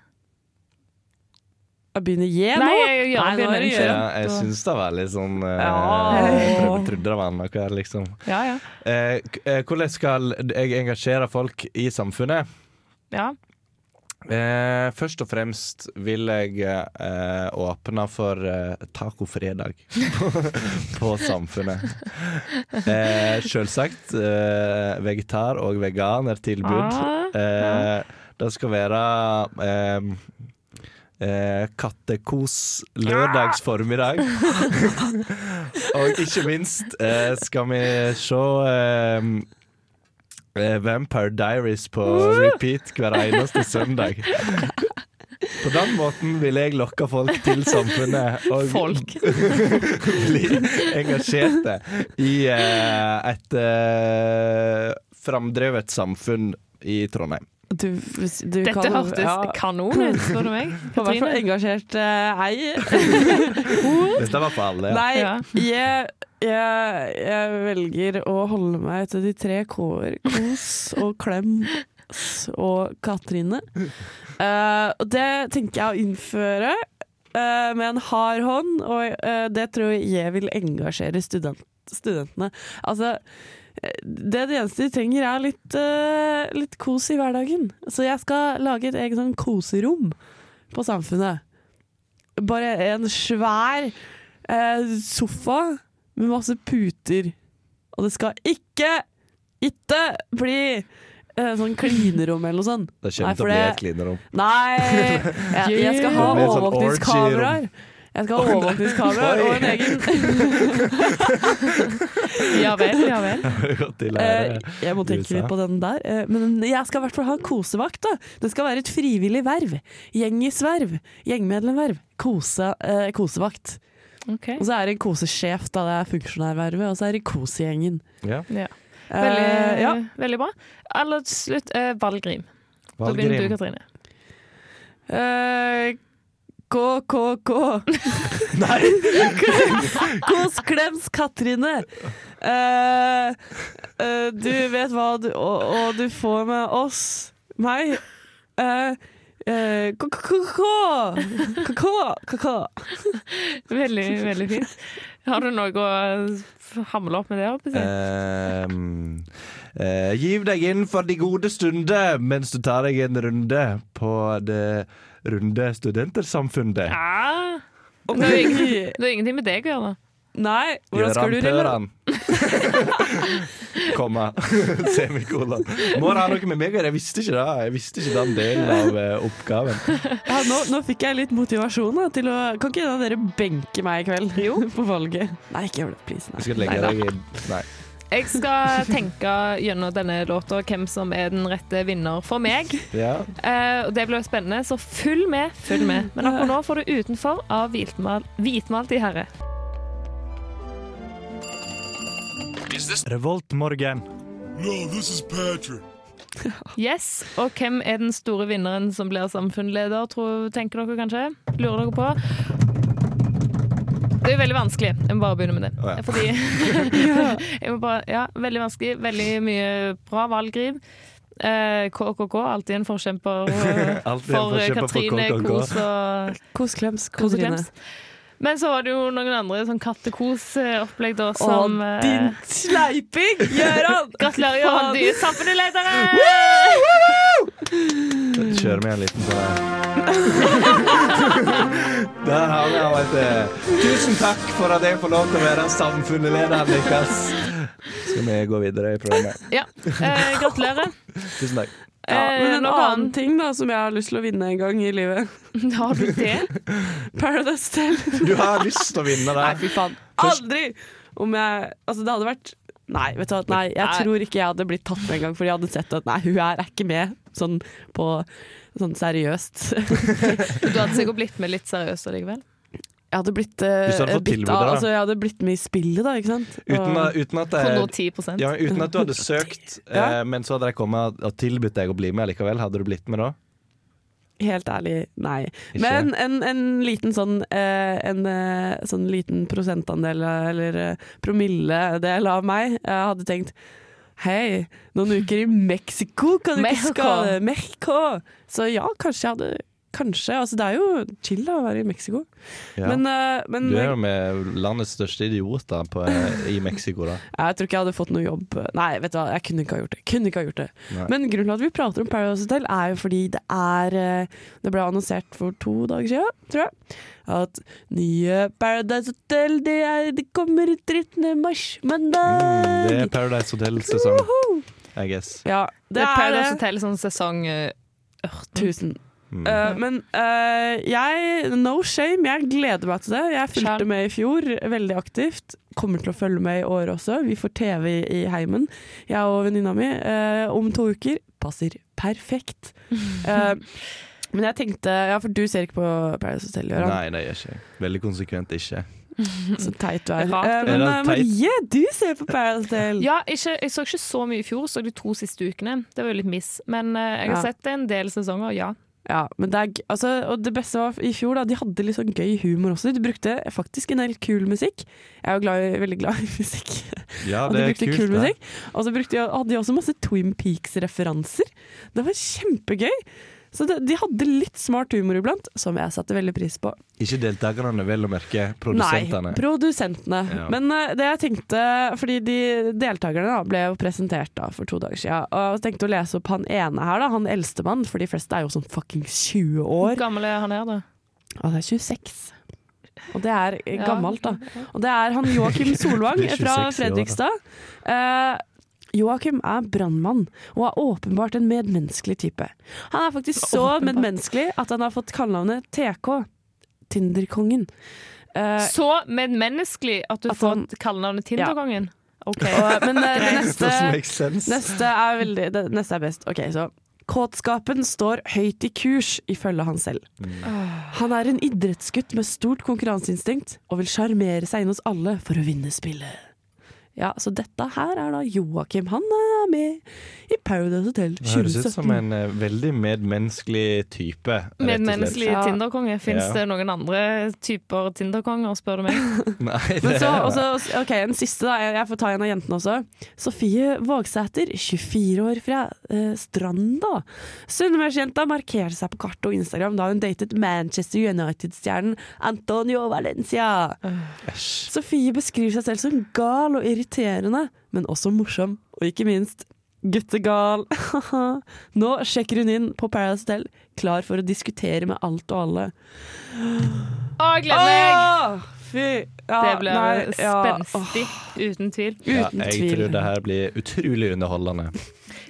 Speaker 6: Jeg begynner jeg nå?
Speaker 2: Nei, jeg gjør-
Speaker 6: nå er det
Speaker 2: begynner.
Speaker 6: gjør
Speaker 7: Ja, jeg syns det var litt sånn eh,
Speaker 6: Ja.
Speaker 7: prøvde, Trodde det var annenhver, liksom.
Speaker 2: Ja, ja.
Speaker 7: Eh, k- eh, hvordan skal jeg engasjere folk i samfunnet?
Speaker 2: ja.
Speaker 7: Eh, først og fremst vil jeg eh, åpne for eh, tacofredag på, på Samfunnet. Eh, Sjølsagt eh, vegetar- og veganertilbud.
Speaker 2: Ah,
Speaker 7: eh, det skal være eh, eh, kattekos lørdags formiddag. og ikke minst eh, skal vi se eh, eh, Vampire Diaries på repeat hver eneste søndag. På den måten vil jeg lokke folk til samfunnet og
Speaker 2: Folk.
Speaker 7: bli engasjerte i eh, et eh, framdrevet samfunn i Trondheim.
Speaker 6: Du, hvis du
Speaker 2: Dette
Speaker 6: kan-
Speaker 2: hørtes
Speaker 6: ja.
Speaker 2: kanon ut, spør du meg.
Speaker 6: På hvert fall
Speaker 2: Katrine.
Speaker 6: engasjert eh, ei.
Speaker 7: Dette var for alle. Ja.
Speaker 6: Nei,
Speaker 2: Ja.
Speaker 6: jeg, jeg, jeg velger å holde meg til de tre K-er. Kos og klem s og Katrine. Eh, og det tenker jeg å innføre eh, med en hard hånd, og eh, det tror jeg vil engasjere student, studentene. Altså, eh, det, det eneste de trenger, er litt, eh, litt kos i hverdagen. Så jeg skal lage et eget sånn koserom på Samfunnet. Bare en svær eh, sofa med masse puter. Og det skal ikke, ikke bli eh, sånn klinerom eller noe sånt.
Speaker 7: Det
Speaker 6: Nei,
Speaker 7: kommer til
Speaker 6: for
Speaker 7: å bli
Speaker 6: det-
Speaker 7: et klinerom.
Speaker 6: Nei! Jeg, jeg skal ha
Speaker 7: Det blir sånn
Speaker 6: overvåkningskameraer. Jeg skal ha overvåkningskameraer og en egen
Speaker 2: Ja vel, ja vel.
Speaker 7: Godt i
Speaker 6: Eh,
Speaker 7: lære.
Speaker 6: jeg må tenke
Speaker 7: USA.
Speaker 6: litt på den der. Eh, men jeg skal i hvert fall ha en kosevakt. da. Det skal være et frivillig verv. Gjengisverv. Gjengmedlemverv. Kose, eh, kosevakt.
Speaker 2: Ok.
Speaker 6: Og så er det en kosesjef, da. Det er funksjonærvervet. Og så er det kosegjengen.
Speaker 7: Ja.
Speaker 2: Ja.
Speaker 6: Eh,
Speaker 2: Veldig,
Speaker 6: ja.
Speaker 2: veldig bra. Aller til slutt, eh, Valgrim. Da begynner du,
Speaker 7: Valgrim.
Speaker 2: Katrine.
Speaker 6: Eh, KKK. Nei! Kos klems Katrine. Eh, eh, du vet hva du og, og du får med oss, meg. Eh, eh, KKK! KKK! KKK!
Speaker 2: Veldig, veldig fint. Har du noe å hamle opp med det? Håper
Speaker 7: Eh.
Speaker 2: jeg?
Speaker 7: Ehm, eh, giv deg inn for de gode stunder mens du tar deg en runde på det runde studentersamfunnet.
Speaker 2: Ah,
Speaker 6: Og
Speaker 2: det er jo
Speaker 6: Norge.
Speaker 2: det har ingenting med deg å gjøre.
Speaker 6: Nei, hvordan skal du rela-
Speaker 7: Gøran Pøran. Komma. Semikolon. Må det ha noe med meg å gjøre? Jeg visste ikke det. Jeg visste ikke den delen av eh, oppgaven.
Speaker 6: ja, nå, nå fikk jeg litt motivasjon da, til å Kan ikke en av dere benke meg i kveld? Jo. På valget. Nei, ikke gjør det, please. Nei.
Speaker 7: Jeg skal legge deg inn. Nei.
Speaker 2: Jeg skal tenke gjennom denne låta hvem som er den rette vinner for meg.
Speaker 7: Ja.
Speaker 2: Eh, og det blir spennende, så følg med. følg med. Men akkurat nå får du 'Utenfor' av Hvitmal- Hvitmalt i herre.
Speaker 1: Revoltmorgen.
Speaker 2: Yes, og hvem er den store vinneren som blir samfunnsleder, tror, tenker dere kanskje? Lurer dere på? Det er jo veldig vanskelig. Jeg må bare begynne med det.
Speaker 7: Å, ja.
Speaker 2: Fordi jeg må bare, ja, Veldig vanskelig. Veldig mye bra valggriv. Eh, KKK, alltid en forkjemper eh,
Speaker 7: Alltid en
Speaker 2: for eh,
Speaker 7: forkjemper for
Speaker 2: Katrine
Speaker 7: KKK.
Speaker 2: Kos og
Speaker 6: Kos klems, Katrine.
Speaker 2: Katrine. Men så var det jo noen andre sånn kattekos-opplegg da
Speaker 6: Og
Speaker 2: som eh,
Speaker 6: din sleiping, Gøran!
Speaker 2: Gratulerer, Johan, du er samfunnslederen!
Speaker 7: Kjøre med en liten sånn her. Der har vi han, vet du. Tusen takk for at jeg får lov til å være samfunnslederen deres. Skal vi gå videre i programmet?
Speaker 2: Ja, eh, gratulerer.
Speaker 7: Tusen takk.
Speaker 6: Ja, men
Speaker 2: Eh,
Speaker 6: en
Speaker 2: noe
Speaker 6: annen
Speaker 2: annet.
Speaker 6: ting da som jeg har lyst til å vinne en gang i livet.
Speaker 2: Har du det?
Speaker 6: Paradise Tell.
Speaker 7: Du har lyst til å vinne
Speaker 6: Nei,
Speaker 7: der.
Speaker 6: fy faen.
Speaker 7: Først-
Speaker 6: Aldri! Om jeg Altså, det hadde vært Nei, vet du hva. Nei, jeg
Speaker 2: Nei.
Speaker 6: tror ikke jeg hadde blitt tatt med en gang, fordi jeg hadde sett at nei, hun her er ikke med sånn på Sånn seriøst. Jeg
Speaker 2: Du hadde sikkert blitt med litt seriøst allikevel.
Speaker 6: hadde blitt eh,
Speaker 7: Hvis du hadde fått
Speaker 6: bitt
Speaker 7: tilbudet,
Speaker 6: av,
Speaker 7: da.
Speaker 6: altså, Jeg hadde blitt med i spillet, da, ikke sant?
Speaker 7: Uten,
Speaker 6: Og-
Speaker 7: at- uten at
Speaker 2: På nå
Speaker 7: det
Speaker 2: 10
Speaker 7: ja, men Uten at du hadde søkt,
Speaker 6: Ja.
Speaker 7: eh, men så hadde de kommet og tilbudt deg å bli med likevel. Hadde du blitt med da?
Speaker 6: Helt ærlig, nei.
Speaker 7: Ikke?
Speaker 6: Men en, en liten sånn eh, En eh, sånn liten prosentandel eh, eller eh, promilledel av meg eh, hadde tenkt Hei, noen uker i Mexico, kan du
Speaker 2: Mexico.
Speaker 6: ikke skade Mexico? Så ja, kanskje jeg hadde Kanskje. Altså, det er jo chill da, å være i Mexico.
Speaker 7: Ja.
Speaker 6: Men, eh, men
Speaker 7: du er jo
Speaker 6: jeg,
Speaker 7: med landets største idioter på, eh, i Mexico, da.
Speaker 6: tror ikke jeg hadde fått noe jobb. Nei, vet du hva, jeg kunne ikke ha gjort det. Kunne ikke ha gjort det.
Speaker 7: Nei.
Speaker 6: Men grunnen til at vi prater om Paradise Hotel er jo fordi det er eh, Det ble annonsert for to dager siden, tror jeg, at nye Paradise Hotel det, er, det kommer 13. mars,
Speaker 7: Mm,
Speaker 6: mandag!
Speaker 7: det er Paradise Hotel-sesong,
Speaker 6: Woho!
Speaker 7: I guess.
Speaker 6: Ja,
Speaker 2: Det
Speaker 6: det
Speaker 2: er
Speaker 6: er
Speaker 2: Paradise
Speaker 6: det.
Speaker 2: Hotel sånn sesong eh, 18.
Speaker 6: Tusen.
Speaker 7: Mm.
Speaker 6: Eh, men eh, jeg No shame, jeg gleder meg til det. Jeg
Speaker 2: Skjær.
Speaker 6: fulgte med i fjor, veldig aktivt. Kommer til å følge med i år også. Vi får TV i, i heimen, jeg og venninna mi. eh, om to uker passer perfekt. Eh, Men jeg tenkte Ja, for du ser ikke på Paradise Hotel, Gøran.
Speaker 7: Nei, det gjør ikke jeg. Veldig konsekvent ikke.
Speaker 6: Så teit du er.
Speaker 2: Rart,
Speaker 6: Eh, Men eh,
Speaker 7: men- Er det teit?
Speaker 6: Marie, du ser på Paradise Hotel!
Speaker 2: Ja, ikke, jeg så ikke så mye i fjor, så de to siste ukene. Det var jo litt miss. Men eh, jeg har
Speaker 6: Ja.
Speaker 2: sett en del sesonger, ja.
Speaker 6: Ja, men det er, g- altså, og det beste var i fjor, da. De hadde litt sånn gøy humor også. De brukte faktisk en del kul musikk. Jeg er jo glad i, veldig glad i musikk.
Speaker 7: Ja,
Speaker 6: Og
Speaker 7: det
Speaker 6: de
Speaker 7: er
Speaker 6: brukte
Speaker 7: kult.
Speaker 6: kul
Speaker 7: det.
Speaker 6: musikk. Og så brukte de, hadde de også masse Twin Peaks-referanser. Det var kjempegøy! Så det, de hadde litt smart humor iblant, som jeg satte veldig pris på.
Speaker 7: Ikke deltakerne, vel å merke. Produsentene.
Speaker 6: Nei, produsentene.
Speaker 7: Ja.
Speaker 6: Men eh, det jeg tenkte Fordi de deltakerne da, ble jo presentert da, for to dager siden. Og jeg tenkte å lese opp han ene her, da, han eldste mann, for de fleste er jo sånn fuckings 20
Speaker 2: Hvor
Speaker 6: år.
Speaker 2: gammel er han her, da?
Speaker 6: Han er 26. Og det er eh,
Speaker 2: Ja.
Speaker 6: gammelt, da. Og det er han Joakim Solvang
Speaker 7: Blir 26
Speaker 6: fra
Speaker 7: i år, da.
Speaker 6: Fredrikstad. Eh, Joakim er brannmann og er åpenbart en medmenneskelig type. Han er faktisk så
Speaker 2: Åpenbart.
Speaker 6: medmenneskelig at han har fått kallenavnet TK, Tinderkongen. Eh,
Speaker 2: Så medmenneskelig at du
Speaker 6: At
Speaker 2: får
Speaker 6: han-
Speaker 2: kallenavnet Tinderkongen. OK.
Speaker 6: Og, men eh, det neste,
Speaker 7: makes sense.
Speaker 6: neste er veldig det, Neste er best. Ok, så Kåtskapen står høyt i kurs, ifølge han selv.
Speaker 7: Mm.
Speaker 6: Han er en idrettsgutt med stort konkurranseinstinkt og vil sjarmere seg inn hos alle for å vinne spillet. Ja, Så dette her er da Joakim. Han er med i Paradise Hotel
Speaker 7: Det høres ut som
Speaker 6: 2017.
Speaker 7: en eh, veldig medmenneskelig type. rett og slett.
Speaker 2: Medmenneskelig
Speaker 6: Ja.
Speaker 2: Tinderkonge. Fins
Speaker 7: Ja.
Speaker 2: det noen andre typer Tinderkonger, spør du meg?
Speaker 7: Nei,
Speaker 6: Men
Speaker 7: det-
Speaker 6: så, også, ok, En siste, da. Jeg, jeg får ta en av jentene også. Sofie Vågsæter, 24 år fra eh, Stranda. Sunnmørsjenta markerer seg på kart og Instagram da hun datet Manchester United-stjernen Antonio Valencia.
Speaker 2: Øh.
Speaker 7: Æsj.
Speaker 6: Sofie beskriver seg selv som gal og irriterende, men også morsom. Og ikke minst guttegal. Nå sjekker hun inn på Paradise Hotel, klar for å diskutere med alt og alle.
Speaker 2: Å, jeg gleder meg!
Speaker 6: Åh, Fy! Ja,
Speaker 2: Det blir
Speaker 6: nei, ja, åh,
Speaker 2: spenstig, uten tvil.
Speaker 7: Ja,
Speaker 6: Uten
Speaker 7: jeg
Speaker 6: tvil.
Speaker 7: tror det her blir utrolig underholdende.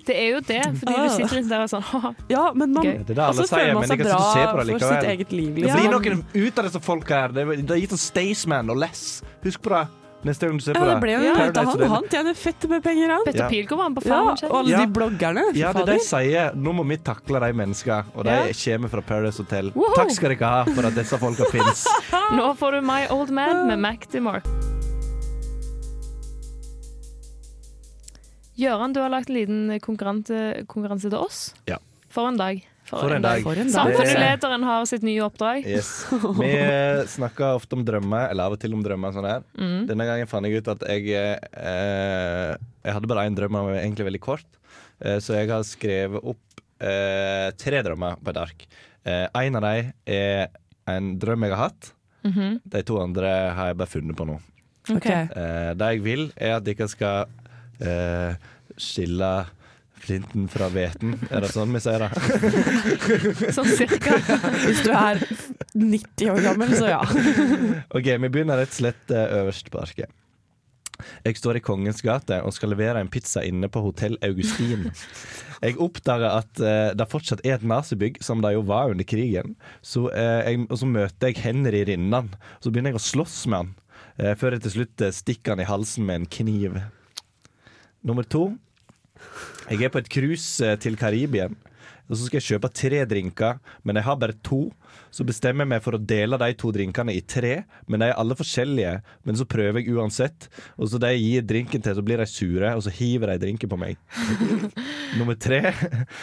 Speaker 2: Det er jo det, fordi
Speaker 6: Ah.
Speaker 2: du sitter litt der og sånn «Haha,
Speaker 6: Ja, men man
Speaker 2: Gøy.
Speaker 7: Det er det alle
Speaker 6: altså,
Speaker 7: sier,
Speaker 6: føler man
Speaker 7: men jeg
Speaker 6: seg
Speaker 7: kan sitte
Speaker 6: bra
Speaker 7: og se på det
Speaker 6: for
Speaker 7: likevel.
Speaker 6: sitt eget liv.
Speaker 7: Det
Speaker 6: Liksom.
Speaker 7: blir noen ut av disse folk her. Det det er gitt oss Staysman og Less. Husk på det neste gang du ser
Speaker 6: ja,
Speaker 7: på
Speaker 6: det ble jo en
Speaker 7: Paradise
Speaker 6: pute. Han,
Speaker 7: Hotel.
Speaker 6: han tjener fett med penger, han.
Speaker 2: Petter
Speaker 7: Ja.
Speaker 2: Pilgaard var med på
Speaker 6: Ja,
Speaker 2: Farmen.
Speaker 6: og alle
Speaker 7: Ja.
Speaker 6: de bloggerne. fy
Speaker 7: Ja, det er
Speaker 6: fader.
Speaker 7: de sier. Nå må vi takle de menneskene, og de kommer fra Paradise Hotel.
Speaker 2: Woho!
Speaker 7: Takk skal dere ha for at disse folka fins.
Speaker 2: Nå får du My Old Man med Mac DeMarc. Gøran, du har lagt en liten konkurranse, konkurranse til oss.
Speaker 7: Ja.
Speaker 2: For en dag. For
Speaker 7: For en dag.
Speaker 6: For en dag.
Speaker 2: Samfunnslederen har sitt nye oppdrag.
Speaker 7: Yes. Vi eh, snakker ofte om drømmer, eller av og til om drømmer. Sånn her.
Speaker 6: Mm.
Speaker 2: Mm,
Speaker 7: Denne gangen fant jeg ut at jeg eh, Jeg hadde bare én drøm, den var egentlig veldig kort. Eh, så jeg har skrevet opp eh, tre drømmer på et ark. Eh, en av dem er en drøm jeg har hatt.
Speaker 2: mhm.
Speaker 7: De to andre har jeg bare funnet på nå.
Speaker 6: Ok.
Speaker 7: Eh, det jeg vil, er at dere skal eh, skille flinten fra hveten. Er det sånn vi sier det?
Speaker 2: Sånn cirka.
Speaker 6: Hvis du er 90 år gammel, så ja.
Speaker 7: OK, vi begynner rett og slett eh, øverst på arket. Jeg står i Kongens gate og skal levere en pizza inne på Hotell Augustin. Jeg oppdager at eh, det fortsatt er et nazibygg, som det jo var under krigen. Så, eh, jeg, og så møter jeg Henry Rinnan. Så begynner jeg å slåss med han, eh, før jeg til slutt eh, stikker han i halsen med en kniv. Nummer to. Jeg er på et cruise eh, til Karibien. Og så skal jeg kjøpe tre drinker, men jeg har bare to. Så bestemmer jeg meg for å dele de to drinkene i tre, men de er alle forskjellige. Men så prøver jeg uansett, og så de jeg gir drinken til, så blir de sure, og så hiver de drinken på meg. Nummer tre.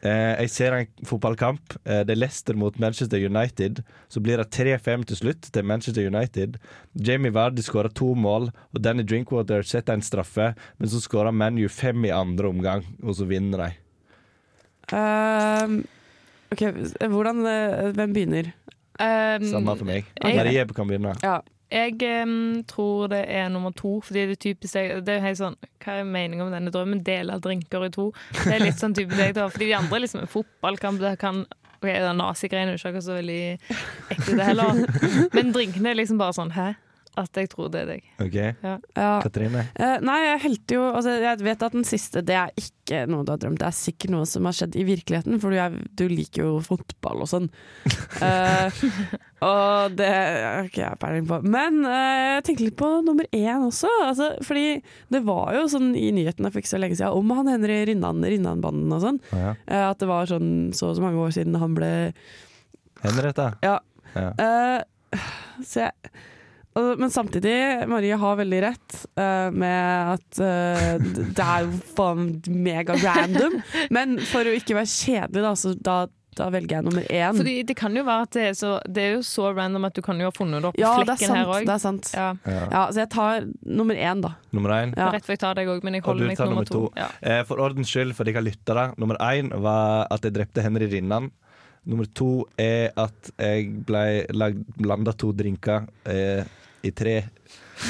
Speaker 7: Eh, jeg ser en fotballkamp. Eh, det er Leicester mot Manchester United. Så blir det 3-5 til slutt til Manchester United. Jamie Vardy skårer to mål, og Danny Drinkwater setter en straffe. Men så skårer ManU fem i andre omgang, og så vinner de.
Speaker 6: Ehm, ok, hvordan, eh, Hvem begynner?
Speaker 2: Um,
Speaker 7: Samme for meg.
Speaker 2: jeg-
Speaker 7: Marie kan begynne.
Speaker 6: Ehm, Ja.
Speaker 2: Jeg em, tror det er nummer to, fordi det er typisk deg. Det er helt sånn, hva er meningen med denne drømmen? Dele drinker i to. Det er litt sånn type deg, da. Fordi de andre er liksom en fotballkamp. Det kan Ok, det er nazigreiene er jo ikke akkurat så veldig ekte, det heller. Men drinkene er liksom bare sånn hæ? at jeg tror det er deg.
Speaker 7: OK,
Speaker 6: Ja.
Speaker 7: Katrine.
Speaker 6: Eh, nei, jeg helte jo altså, Jeg vet at den siste det er ikke noe du har drømt. Det er sikkert noe som har skjedd i virkeligheten, for du, er, du liker jo fotball og sånn. Eh, og det har ikke jeg peiling på. Men eh, jeg tenkte litt på nummer én også. Altså, fordi det var jo sånn i nyhetene for ikke så lenge siden om han Henry Rinnan, Rinnanbanden og sånn.
Speaker 7: Ja.
Speaker 6: eh, at det var sånn så og så mange år siden han ble
Speaker 7: Henriette.
Speaker 6: Ja,
Speaker 7: Ja.
Speaker 6: Eh, så jeg, og, men samtidig, Marie har veldig rett eh, med at eh, d- det er jo faen mega random. Men for å ikke være kjedelig, da, så da, da velger jeg nummer én.
Speaker 2: Fordi det kan jo være at det er, så, det er jo så random at du kan jo ha funnet det opp på
Speaker 6: ja, det er
Speaker 2: flekken
Speaker 6: sant.
Speaker 2: her òg.
Speaker 6: Det er sant. Ja.
Speaker 2: Ja.
Speaker 6: så jeg tar nummer én, da.
Speaker 7: Nummer én.
Speaker 6: Ja.
Speaker 2: Rett før jeg tar deg òg, men jeg
Speaker 7: Og du
Speaker 2: holder meg
Speaker 7: tar
Speaker 2: til nummer
Speaker 7: nummer
Speaker 2: to.
Speaker 7: to.
Speaker 2: Ja.
Speaker 7: Eh, for ordens skyld, for dere lyttere. Nummer én var at jeg drepte Henry Rinnan. Nummer to er at jeg ble lagd, blanda to drinker eh, i tre.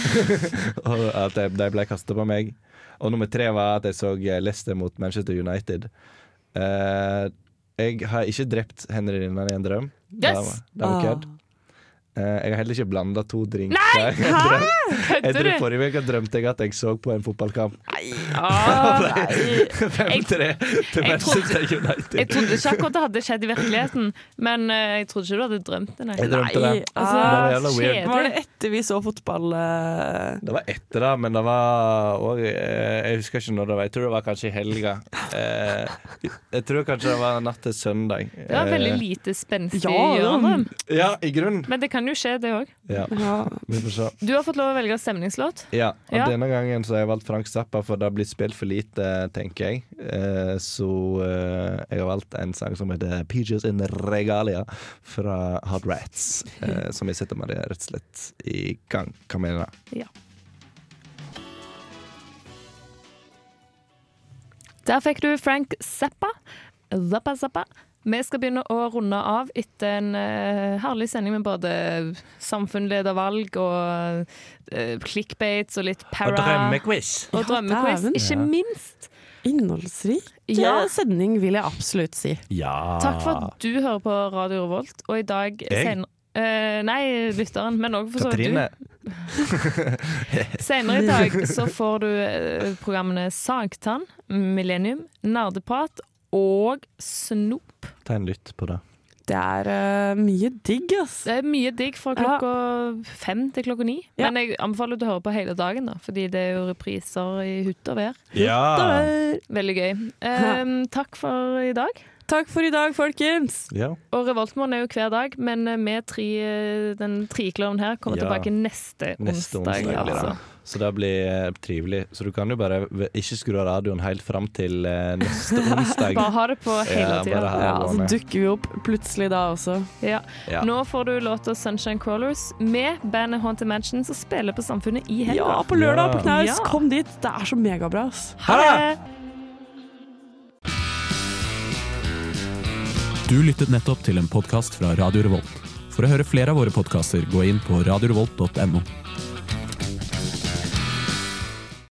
Speaker 7: og at de de ble kasta på meg. Og nummer tre var at jeg så eh, Leicester mot Manchester United. Eh, jeg har ikke drept Henry Rinnan i en drøm. Det var,
Speaker 2: Yes!
Speaker 7: det var
Speaker 6: Ah.
Speaker 7: kødd. Eh, jeg har heller ikke blanda to drinker. Nei! Jeg
Speaker 2: Kødder
Speaker 7: tror
Speaker 2: du?
Speaker 7: forrige uke drømte jeg at jeg så på en fotballkamp.
Speaker 2: Ah, nei.
Speaker 7: 5-3 til
Speaker 2: jeg
Speaker 7: Manchester
Speaker 2: Jeg
Speaker 7: United.
Speaker 2: trodde ikke akkurat det hadde skjedd i virkeligheten, men eh, jeg trodde ikke du hadde drømt det. Nei.
Speaker 7: Jeg drømte
Speaker 6: Nei,
Speaker 7: det.
Speaker 6: altså,
Speaker 7: det var jævla weird.
Speaker 6: Var det etter vi så fotball eh,
Speaker 7: Det var etter det, men det var òg Jeg husker ikke når det var. Jeg tror det var kanskje i helga. Eh, Jeg tror kanskje det var natt til søndag.
Speaker 2: Det var veldig lite spenstig
Speaker 6: Ja,
Speaker 2: i
Speaker 6: det var-
Speaker 2: hjørnet.
Speaker 7: Eh, Ja, i grunnen.
Speaker 2: Men det kan jo skje, det òg.
Speaker 7: Ja,
Speaker 6: Ja.
Speaker 7: vi får se.
Speaker 2: Du har fått lov å velge stemningslåt.
Speaker 7: Ja, og
Speaker 2: Ja.
Speaker 7: denne gangen så har jeg valgt Frank Zappa, for det har blitt spilt for lite, tenker jeg. Eh, Så eh, jeg har valgt en sang som heter 'Peaches in Regalia' fra Hot Rats. eh, Som jeg setter meg rett og slett i gang. Hva mener du?
Speaker 2: Der fikk du Frank Zappa. Zappa, Zappa. Vi skal begynne å runde av etter en eh, herlig sending med både samfunnsledervalg og uh, clickbaits og litt para.
Speaker 7: Drømmequiz.
Speaker 2: Og
Speaker 6: Ja,
Speaker 2: drømmequiz,
Speaker 6: dæven.
Speaker 2: ikke
Speaker 7: Ja.
Speaker 2: minst.
Speaker 6: innholdsrik
Speaker 2: Ja.
Speaker 6: ja. sending, vil jeg absolutt si.
Speaker 7: Ja.
Speaker 2: Takk for at du hører på Radio Revolt, og i dag
Speaker 7: Ah. Jeg?
Speaker 2: senere Eh, nei, lytteren, men òg for så vidt
Speaker 7: Katrine.
Speaker 2: du. Senere i dag så får du eh, programmene Sagtann, Millennium, Nerdeprat og Snop.
Speaker 7: Ta en lytt på det.
Speaker 6: Det er eh, mye digg, ass.
Speaker 2: Det er mye digg fra
Speaker 6: Ja.
Speaker 2: klokka fem til klokka ni.
Speaker 6: Ja.
Speaker 2: Men jeg anbefaler at du hører på hele dagen, da, fordi det er jo repriser i hutt og vær.
Speaker 7: Ja.
Speaker 2: Veldig gøy. Ehm, takk for i dag.
Speaker 6: Takk for i dag, folkens!
Speaker 7: ja.
Speaker 2: Og Revoltmorgen er jo hver dag, men vi tre, eh, den trikløven her kommer
Speaker 7: Ja.
Speaker 2: tilbake neste,
Speaker 7: Neste onsdag blir det.
Speaker 2: altså.
Speaker 7: Så det blir eh, trivelig. Så du kan jo bare v- ikke skru av radioen helt fram til eh, neste onsdag.
Speaker 2: Bare ha det på hele
Speaker 7: Ja,
Speaker 2: tida.
Speaker 7: bare ha-
Speaker 6: Ja,
Speaker 7: Ja,
Speaker 6: så
Speaker 7: Arne.
Speaker 6: dukker vi opp plutselig da også.
Speaker 2: Ja.
Speaker 7: Ja.
Speaker 2: Nå får du låta 'Sunshine Crawlers' med bandet Haunted Mansion, som spiller på Samfunnet i helga.
Speaker 6: Ja, på lørdag på Knaus!
Speaker 2: Ja.
Speaker 6: Kom dit! Det er så megabra, ass.
Speaker 2: Ha det!
Speaker 9: Du lyttet nettopp til en podkast fra Radio Revolt. For å høre flere av våre podkaster, gå inn på radiorevolt.no.